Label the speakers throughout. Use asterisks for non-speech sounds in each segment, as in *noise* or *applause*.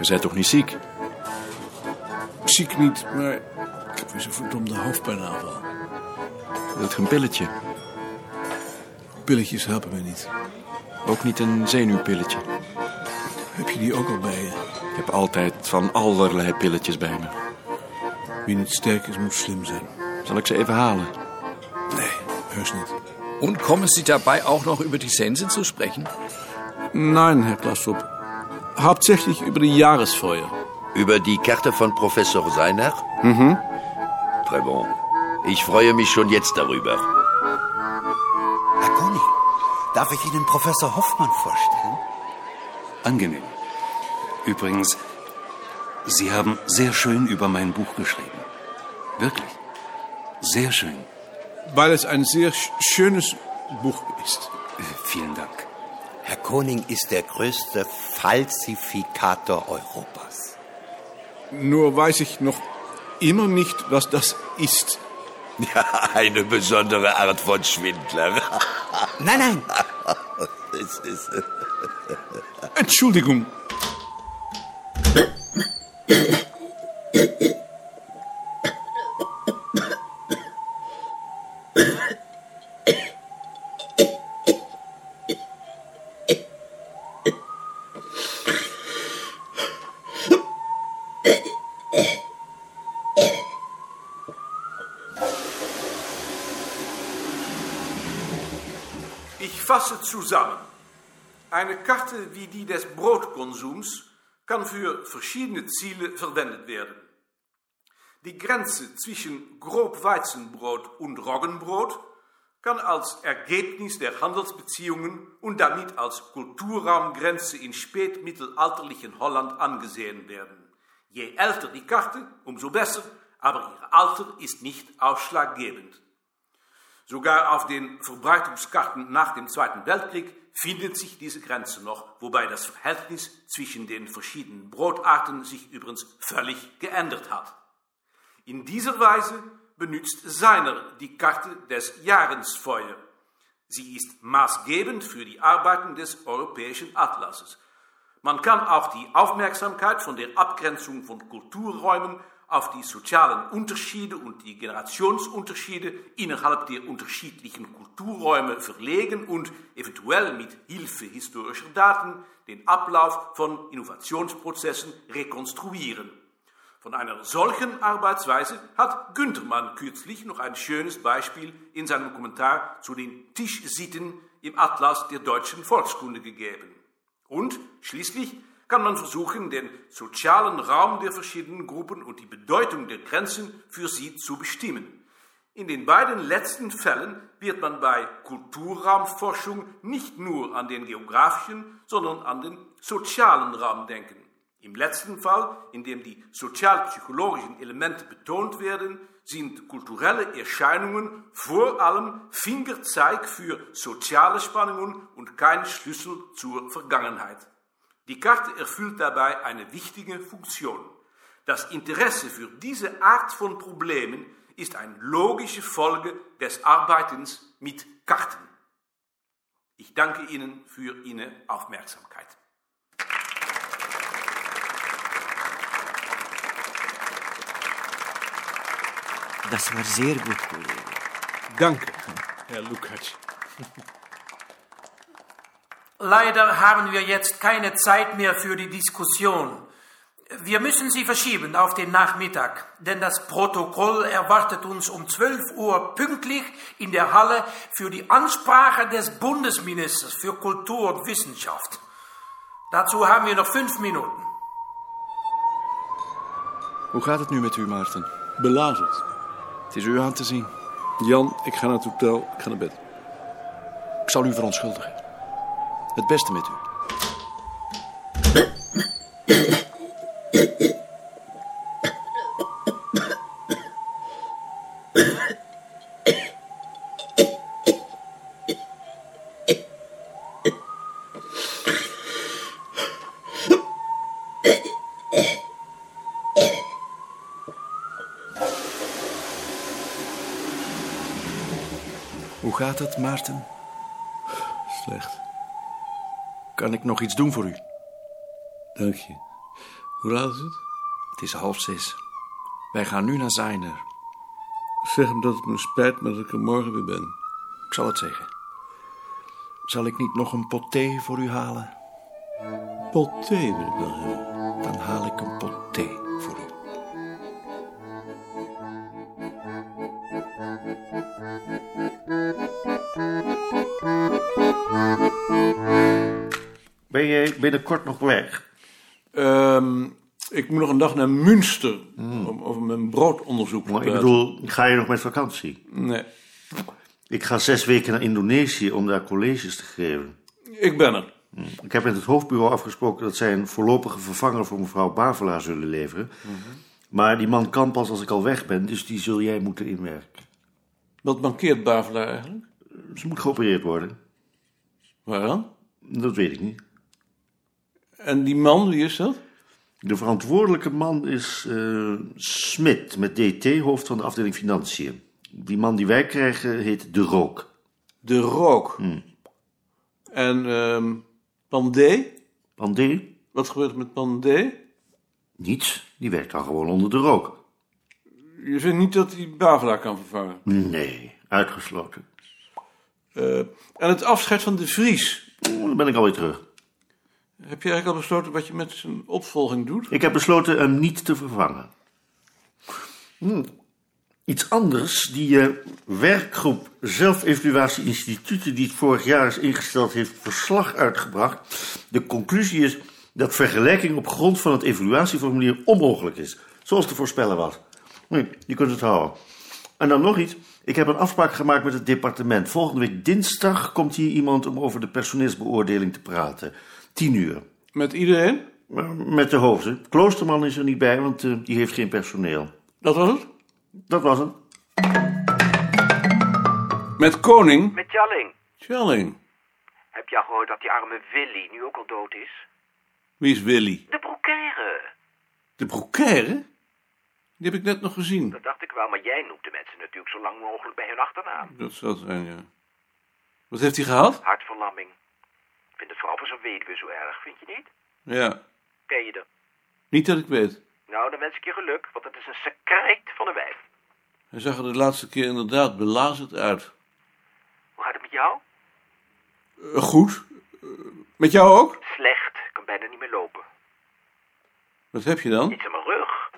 Speaker 1: Je bent toch niet ziek?
Speaker 2: Ziek niet, maar ik heb weer zo'n verdomde hoofdpijnaanval.
Speaker 1: Wilt je een pilletje?
Speaker 2: Pilletjes helpen me niet.
Speaker 1: Ook niet een zenuwpilletje?
Speaker 2: Heb je die ook al bij je?
Speaker 1: Ik heb altijd van allerlei pilletjes bij me.
Speaker 2: Wie niet sterk is, moet slim zijn.
Speaker 1: Zal ik ze even halen?
Speaker 2: Nee, heus niet.
Speaker 3: Und kommen Sie dabei auch noch über die Sensen zu sprechen?
Speaker 2: Nein, Herr Klaasop. Hauptsächlich über die Jahresfeuer.
Speaker 4: Über die Karte von Professor Seiner? Mhm. Très bon. Ich freue mich schon jetzt darüber.
Speaker 5: Herr Konig, darf ich Ihnen Professor Hoffmann vorstellen?
Speaker 6: Angenehm. Übrigens, Sie haben sehr schön über mein Buch geschrieben. Wirklich. Sehr schön.
Speaker 2: Weil es ein sehr sch- schönes Buch ist.
Speaker 6: Äh, Vielen Dank.
Speaker 5: Herr Koning ist der größte Falsifikator Europas.
Speaker 2: Nur weiß ich noch immer nicht, was das ist.
Speaker 4: *laughs* Ja, eine besondere Art von Schwindler.
Speaker 5: Nein,
Speaker 4: *laughs*
Speaker 5: nein,
Speaker 4: Es ist, äh,
Speaker 2: Entschuldigung.
Speaker 7: Ich fasse zusammen. Eine Karte wie die des Brotkonsums kann für verschiedene Ziele verwendet werden. Die Grenze zwischen Grobweizenbrot und Roggenbrot kann als Ergebnis der Handelsbeziehungen und damit als Kulturraumgrenze in spätmittelalterlichen Holland angesehen werden. Je älter die Karte, umso besser, aber ihr Alter ist nicht ausschlaggebend. Sogar auf den Verbreitungskarten nach dem Zweiten Weltkrieg findet sich diese Grenze noch, wobei das Verhältnis zwischen den verschiedenen Brotarten sich übrigens völlig geändert hat. In dieser Weise benutzt Seiner die Karte des Jahresfeuer. Sie ist maßgebend für die Arbeiten des europäischen Atlases. Man kann auch die Aufmerksamkeit von der Abgrenzung von Kulturräumen auf die sozialen Unterschiede und die Generationsunterschiede innerhalb der unterschiedlichen Kulturräume verlegen und eventuell mit Hilfe historischer Daten den Ablauf von Innovationsprozessen rekonstruieren. Von einer solchen Arbeitsweise hat Günthermann kürzlich noch ein schönes Beispiel in seinem Kommentar zu den Tischsitten im Atlas der deutschen Volkskunde gegeben. Und schließlich kann man versuchen, den sozialen Raum der verschiedenen Gruppen und die Bedeutung der Grenzen für sie zu bestimmen. In den beiden letzten Fällen wird man bei Kulturraumforschung nicht nur an den geografischen, sondern an den sozialen Raum denken. Im letzten Fall, in dem die sozialpsychologischen Elemente betont werden, sind kulturelle Erscheinungen vor allem Fingerzeig für soziale Spannungen und kein Schlüssel zur Vergangenheit. Die Karte erfüllt dabei eine wichtige Funktion. Das Interesse für diese Art von Problemen ist eine logische Folge des Arbeitens mit Karten. Ich danke Ihnen für Ihre Aufmerksamkeit.
Speaker 5: das war sehr gut, Kollege.
Speaker 2: Danke, Herr Lukács.
Speaker 8: Leider haben wir jetzt keine Zeit mehr für die Diskussion. Wir müssen sie verschieben auf den Nachmittag, denn das Protokoll erwartet uns um 12 Uhr pünktlich in der Halle für die Ansprache des Bundesministers für Kultur und Wissenschaft. Dazu haben wir noch fünf Minuten.
Speaker 1: Hoe gaat het nu met u, Maarten?
Speaker 2: Belazerd.
Speaker 1: Het is u aan te zien.
Speaker 2: Jan, ik ga naar het hotel. Ik ga naar bed.
Speaker 1: Ik zal u verontschuldigen. Het beste met u. Hoe gaat het, Maarten?
Speaker 2: Slecht.
Speaker 1: Kan ik nog iets doen voor u?
Speaker 2: Dank je. Hoe laat is het?
Speaker 3: Het is half zes. Wij gaan nu naar Zijner.
Speaker 2: Zeg hem dat het me spijt, maar dat ik er morgen weer ben.
Speaker 3: Ik zal het zeggen. Zal ik niet nog een pot thee voor u halen?
Speaker 2: Pot thee wil ik wel hebben.
Speaker 3: Dan haal ik een pot thee voor u.
Speaker 9: Ben je binnenkort nog weg?
Speaker 2: Ehm, ik moet nog een dag naar Münster om over mijn broodonderzoek te
Speaker 9: Maar
Speaker 2: praten.
Speaker 9: ik bedoel, ga je nog met vakantie?
Speaker 2: Nee,
Speaker 9: Ik ga zes weken naar Indonesië om daar colleges te geven.
Speaker 2: ik ben er.
Speaker 9: Ik heb met het hoofdbureau afgesproken dat zij een voorlopige vervanger voor mevrouw Bavelaar zullen leveren. Maar die man kan pas als ik al weg ben, dus die zul jij moeten inwerken.
Speaker 2: Wat mankeert Bavelaar eigenlijk?
Speaker 9: Ze moet geopereerd worden.
Speaker 2: Waaraan?
Speaker 9: Dat weet ik niet.
Speaker 2: En die man, wie is dat?
Speaker 9: De verantwoordelijke man is eh Smit, met DT, hoofd van de afdeling Financiën. Die man die wij krijgen heet De Rook.
Speaker 2: De Rook. En ehm Pandé?
Speaker 9: Pandé?
Speaker 2: Wat gebeurt er met Pandé?
Speaker 9: Niets. Die werkt dan gewoon onder de rook.
Speaker 2: Je vindt niet dat hij Bavelaar kan vervangen.
Speaker 9: Nee, uitgesloten.
Speaker 2: Eh, en het afscheid van de Vries.
Speaker 9: Oeh, Dan ben ik alweer terug.
Speaker 2: Heb je eigenlijk al besloten wat je met zijn opvolging doet?
Speaker 9: Ik heb besloten hem niet te vervangen. Hm. Iets anders, die eh, werkgroep Zelfevaluatie Instituten, die het vorig jaar is ingesteld, heeft verslag uitgebracht. De conclusie is dat vergelijking op grond van het evaluatieformulier onmogelijk is, zoals te voorspellen was. Nee, je kunt het houden. En dan nog iets. Ik heb een afspraak gemaakt met het departement. Volgende week dinsdag komt hier iemand om over de personeelsbeoordeling te praten. Tien uur.
Speaker 2: Met iedereen?
Speaker 9: Maar Eh, Met de hoofden. Kloosterman is er niet bij, want eh, die heeft geen personeel.
Speaker 2: Dat was het?
Speaker 9: Dat was het.
Speaker 2: Met Koning?
Speaker 10: Met Jalling,
Speaker 2: Chelling.
Speaker 10: heb je al gehoord dat die arme Willy nu ook al dood is?
Speaker 2: Wie is Willy?
Speaker 10: De broekaire.
Speaker 2: De broekaire? Die heb ik net nog gezien.
Speaker 10: Dat dacht ik wel, maar jij noemt de mensen natuurlijk zo lang mogelijk bij hun achternaam.
Speaker 2: Dat zou het zijn, ja. Wat heeft hij gehad?
Speaker 10: Hartverlamming. Ik vind het vooral voor zo'n weduwe zo erg, vind je niet?
Speaker 2: Ja.
Speaker 10: Ken je er?
Speaker 2: Niet dat ik weet.
Speaker 10: Nou, dan wens ik je geluk, want het is een secret van een wijf.
Speaker 2: Hij zag er de laatste keer inderdaad belazerd uit.
Speaker 10: Hoe gaat het met jou?
Speaker 2: Eh, goed. Eh, met jou ook?
Speaker 10: Slecht. Ik kan bijna niet meer lopen.
Speaker 2: Wat heb je dan?
Speaker 10: Iets aan mijn rug.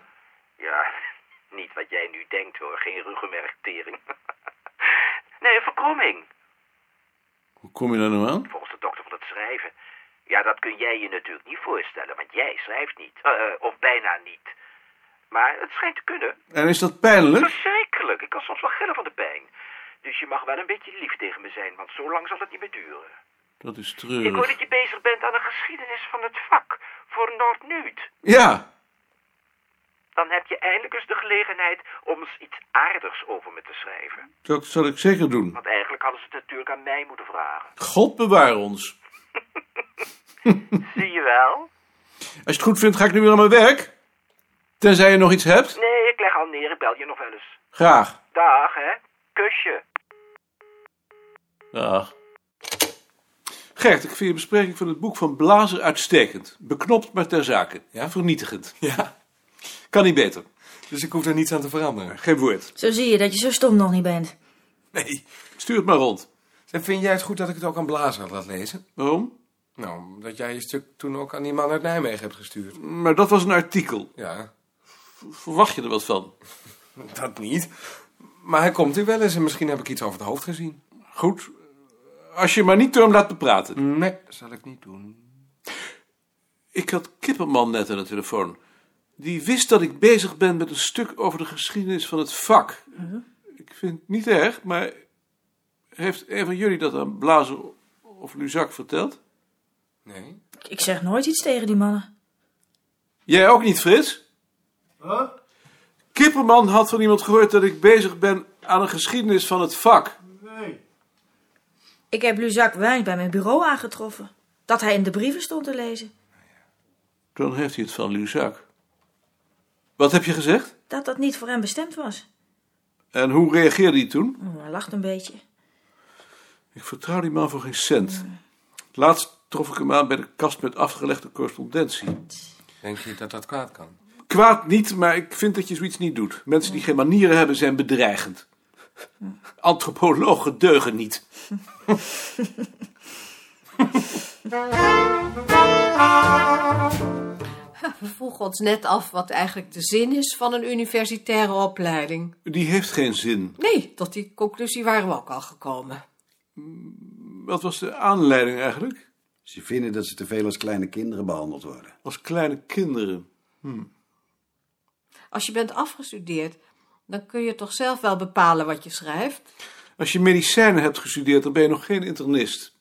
Speaker 10: Ja, *laughs* niet wat jij nu denkt hoor. Geen ruggenmerktering. *laughs* nee, een verkromming.
Speaker 2: Hoe kom je daar nou aan?
Speaker 10: volgens de dokter van het schrijven. Ja, dat kun jij je natuurlijk niet voorstellen, want jij schrijft niet. Eh, eh, of bijna niet. Maar het schijnt te kunnen.
Speaker 2: En is dat pijnlijk?
Speaker 10: Verschrikkelijk. Ik kan soms wel gillen van de pijn. Dus je mag wel een beetje lief tegen me zijn, want zo lang zal het niet meer duren.
Speaker 2: Dat is
Speaker 10: Ik hoor
Speaker 2: treurig.
Speaker 10: dat je bezig bent aan een geschiedenis van het vak voor Noord-Nuut.
Speaker 2: Ja.
Speaker 10: Dan heb je eindelijk eens de gelegenheid om eens iets aardigs over me te schrijven.
Speaker 2: Dat zal ik zeker doen.
Speaker 10: Want eigenlijk hadden ze het natuurlijk aan mij moeten vragen.
Speaker 2: God bewaar ons.
Speaker 10: Zie je wel?
Speaker 2: Als je het goed vindt, ga ik nu weer naar mijn werk. Tenzij je nog iets hebt.
Speaker 10: Nee, ik leg al neer. Ik bel je nog wel eens.
Speaker 2: Graag.
Speaker 10: Dag, hè. Kusje.
Speaker 2: Dag. Gert, ik vind je bespreking van het boek van Blazer uitstekend. Beknopt, maar ter zake. Ja?
Speaker 3: *laughs*
Speaker 2: Vernietigend.
Speaker 3: Ja,
Speaker 2: Kan niet beter.
Speaker 3: dus ik hoef daar niets aan te veranderen.
Speaker 2: Geen woord.
Speaker 11: Zo zie je dat je zo stom nog niet bent.
Speaker 3: Nee.
Speaker 2: Stuur het maar rond.
Speaker 3: En vind jij het goed dat ik het ook aan Blazer laat lezen?
Speaker 2: Waarom?
Speaker 3: Nou, omdat jij je stuk toen ook aan die man uit Nijmegen hebt gestuurd.
Speaker 2: Maar dat was een artikel.
Speaker 3: Ja,
Speaker 2: Verwacht je er wat van?
Speaker 3: dat niet. Maar hij komt hier wel eens en misschien heb ik iets over het hoofd gezien.
Speaker 2: Goed. Als je maar niet door hem laat bepraten.
Speaker 3: Nee, zal ik niet doen.
Speaker 2: Ik had Kipperman net aan de telefoon. Die wist dat ik bezig ben met een stuk over de geschiedenis van het vak.
Speaker 3: Uh-huh.
Speaker 2: Ik vind het niet erg, maar heeft een van jullie dat aan Blazer of Luzak verteld?
Speaker 3: Nee?
Speaker 11: Ik zeg nooit iets tegen die mannen.
Speaker 2: Jij ook niet, Frits? Kipperman had van iemand gehoord dat ik bezig ben aan een geschiedenis van het vak.
Speaker 11: Ik heb Luzak Wijn bij mijn bureau aangetroffen. Dat hij in de brieven stond te lezen.
Speaker 2: Dan heeft hij het van Luzak. Wat heb je gezegd?
Speaker 11: Dat dat niet voor hem bestemd was.
Speaker 2: En hoe reageerde hij toen?
Speaker 11: Oh, hij lacht een beetje.
Speaker 2: Ik vertrouw die man voor geen cent. Laatst trof ik hem aan bij de kast met afgelegde correspondentie.
Speaker 1: Denk je dat dat kwaad kan?
Speaker 2: Kwaad niet, maar ik vind dat je zoiets niet doet. Mensen die geen manieren hebben zijn bedreigend. Antropologen deugen niet.
Speaker 10: We vroegen ons net af wat eigenlijk de zin is van een universitaire opleiding.
Speaker 2: Die heeft geen zin.
Speaker 10: Nee, tot die conclusie waren we ook al gekomen.
Speaker 2: Wat was de aanleiding eigenlijk?
Speaker 12: Ze vinden dat ze te veel als kleine kinderen behandeld worden.
Speaker 2: Als kleine kinderen? Hm.
Speaker 10: Als je bent afgestudeerd, dan kun je toch zelf wel bepalen wat je schrijft?
Speaker 2: Als je medicijnen hebt gestudeerd, dan ben je nog geen internist.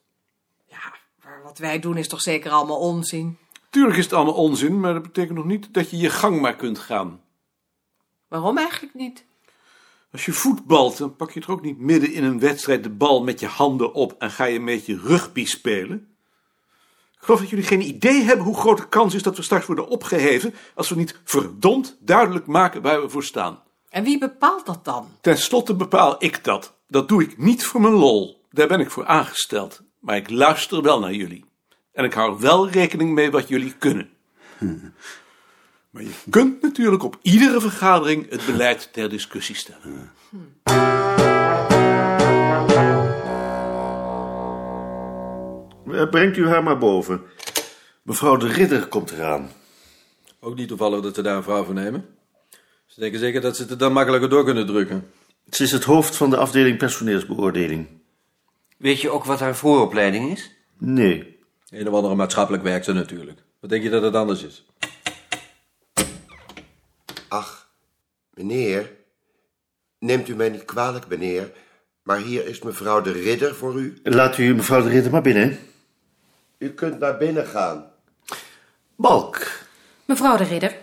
Speaker 10: Ja, maar wat wij doen is toch zeker allemaal onzin?
Speaker 2: Tuurlijk is het allemaal onzin, maar dat betekent nog niet dat je je gang maar kunt gaan.
Speaker 10: Waarom eigenlijk niet?
Speaker 2: Als je voetbalt, dan pak je er ook niet midden in een wedstrijd de bal met je handen op en ga je een beetje rugby spelen. Ik geloof dat jullie geen idee hebben hoe groot de kans is dat we straks worden opgeheven als we niet verdomd duidelijk maken waar we voor staan.
Speaker 10: En wie bepaalt dat dan?
Speaker 2: Ten slotte bepaal ik dat. Dat doe ik niet voor mijn lol. Daar ben ik voor aangesteld. Maar ik luister wel naar jullie. En ik hou wel rekening mee wat jullie kunnen. Maar je kunt natuurlijk op iedere vergadering het beleid ter discussie stellen.
Speaker 9: Eh, Brengt u haar maar boven. Mevrouw de Ridder komt eraan.
Speaker 1: Ook niet toevallig dat ze daar een vrouw voor nemen. Ze denken zeker dat ze het er dan makkelijker door kunnen drukken.
Speaker 9: Ze is het hoofd van de afdeling personeelsbeoordeling.
Speaker 1: Weet je ook wat haar vooropleiding is?
Speaker 9: Nee.
Speaker 1: Een of andere maatschappelijk werkster natuurlijk. Wat denk je dat het anders is?
Speaker 4: Ach, meneer. Neemt u mij niet kwalijk, meneer. Maar hier is mevrouw de Ridder voor u.
Speaker 9: Laat u mevrouw de Ridder maar binnen.
Speaker 4: U kunt naar binnen gaan.
Speaker 9: Balk.
Speaker 8: Mevrouw de Ridder.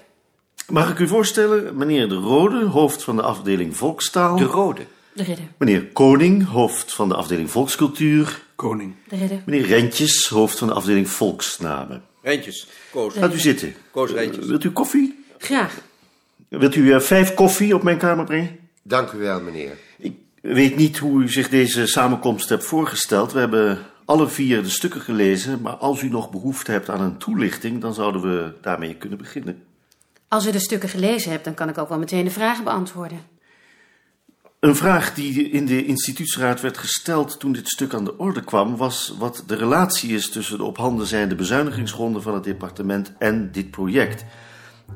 Speaker 9: Mag ik u voorstellen, meneer De Rode, hoofd van de afdeling Volkstaal.
Speaker 1: De Rode.
Speaker 8: De Ridder.
Speaker 9: Meneer Koning, hoofd van de afdeling Volkscultuur.
Speaker 2: Koning.
Speaker 8: De Ridder.
Speaker 9: Meneer Rentjes, hoofd van de afdeling Volksnamen.
Speaker 1: Rentjes, Koos.
Speaker 9: Laat u zitten.
Speaker 1: Koos Rentjes.
Speaker 9: wilt u koffie?
Speaker 8: Graag.
Speaker 9: Wilt u uh, vijf koffie op mijn kamer brengen?
Speaker 4: Dank u wel, meneer.
Speaker 9: Ik weet niet hoe u zich deze samenkomst hebt voorgesteld. We hebben alle vier de stukken gelezen, maar als u nog behoefte hebt aan een toelichting, dan zouden we daarmee kunnen beginnen.
Speaker 8: Als u de stukken gelezen hebt, dan kan ik ook wel meteen de vragen beantwoorden.
Speaker 9: Een vraag die in de instituutsraad werd gesteld toen dit stuk aan de orde kwam, was wat de relatie is tussen de op handen zijnde bezuinigingsgronden van het departement en dit project.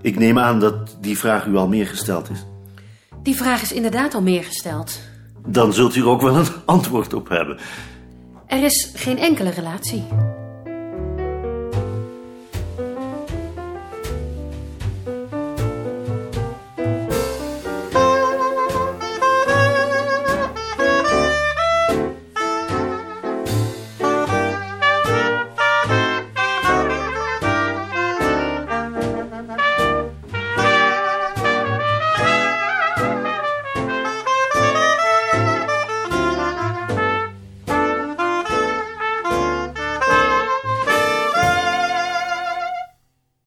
Speaker 9: Ik neem aan dat die vraag u al meer gesteld is.
Speaker 8: Die vraag is inderdaad al meer gesteld.
Speaker 9: *laughs* Dan zult u er ook wel een antwoord op hebben.
Speaker 8: Er is geen enkele relatie.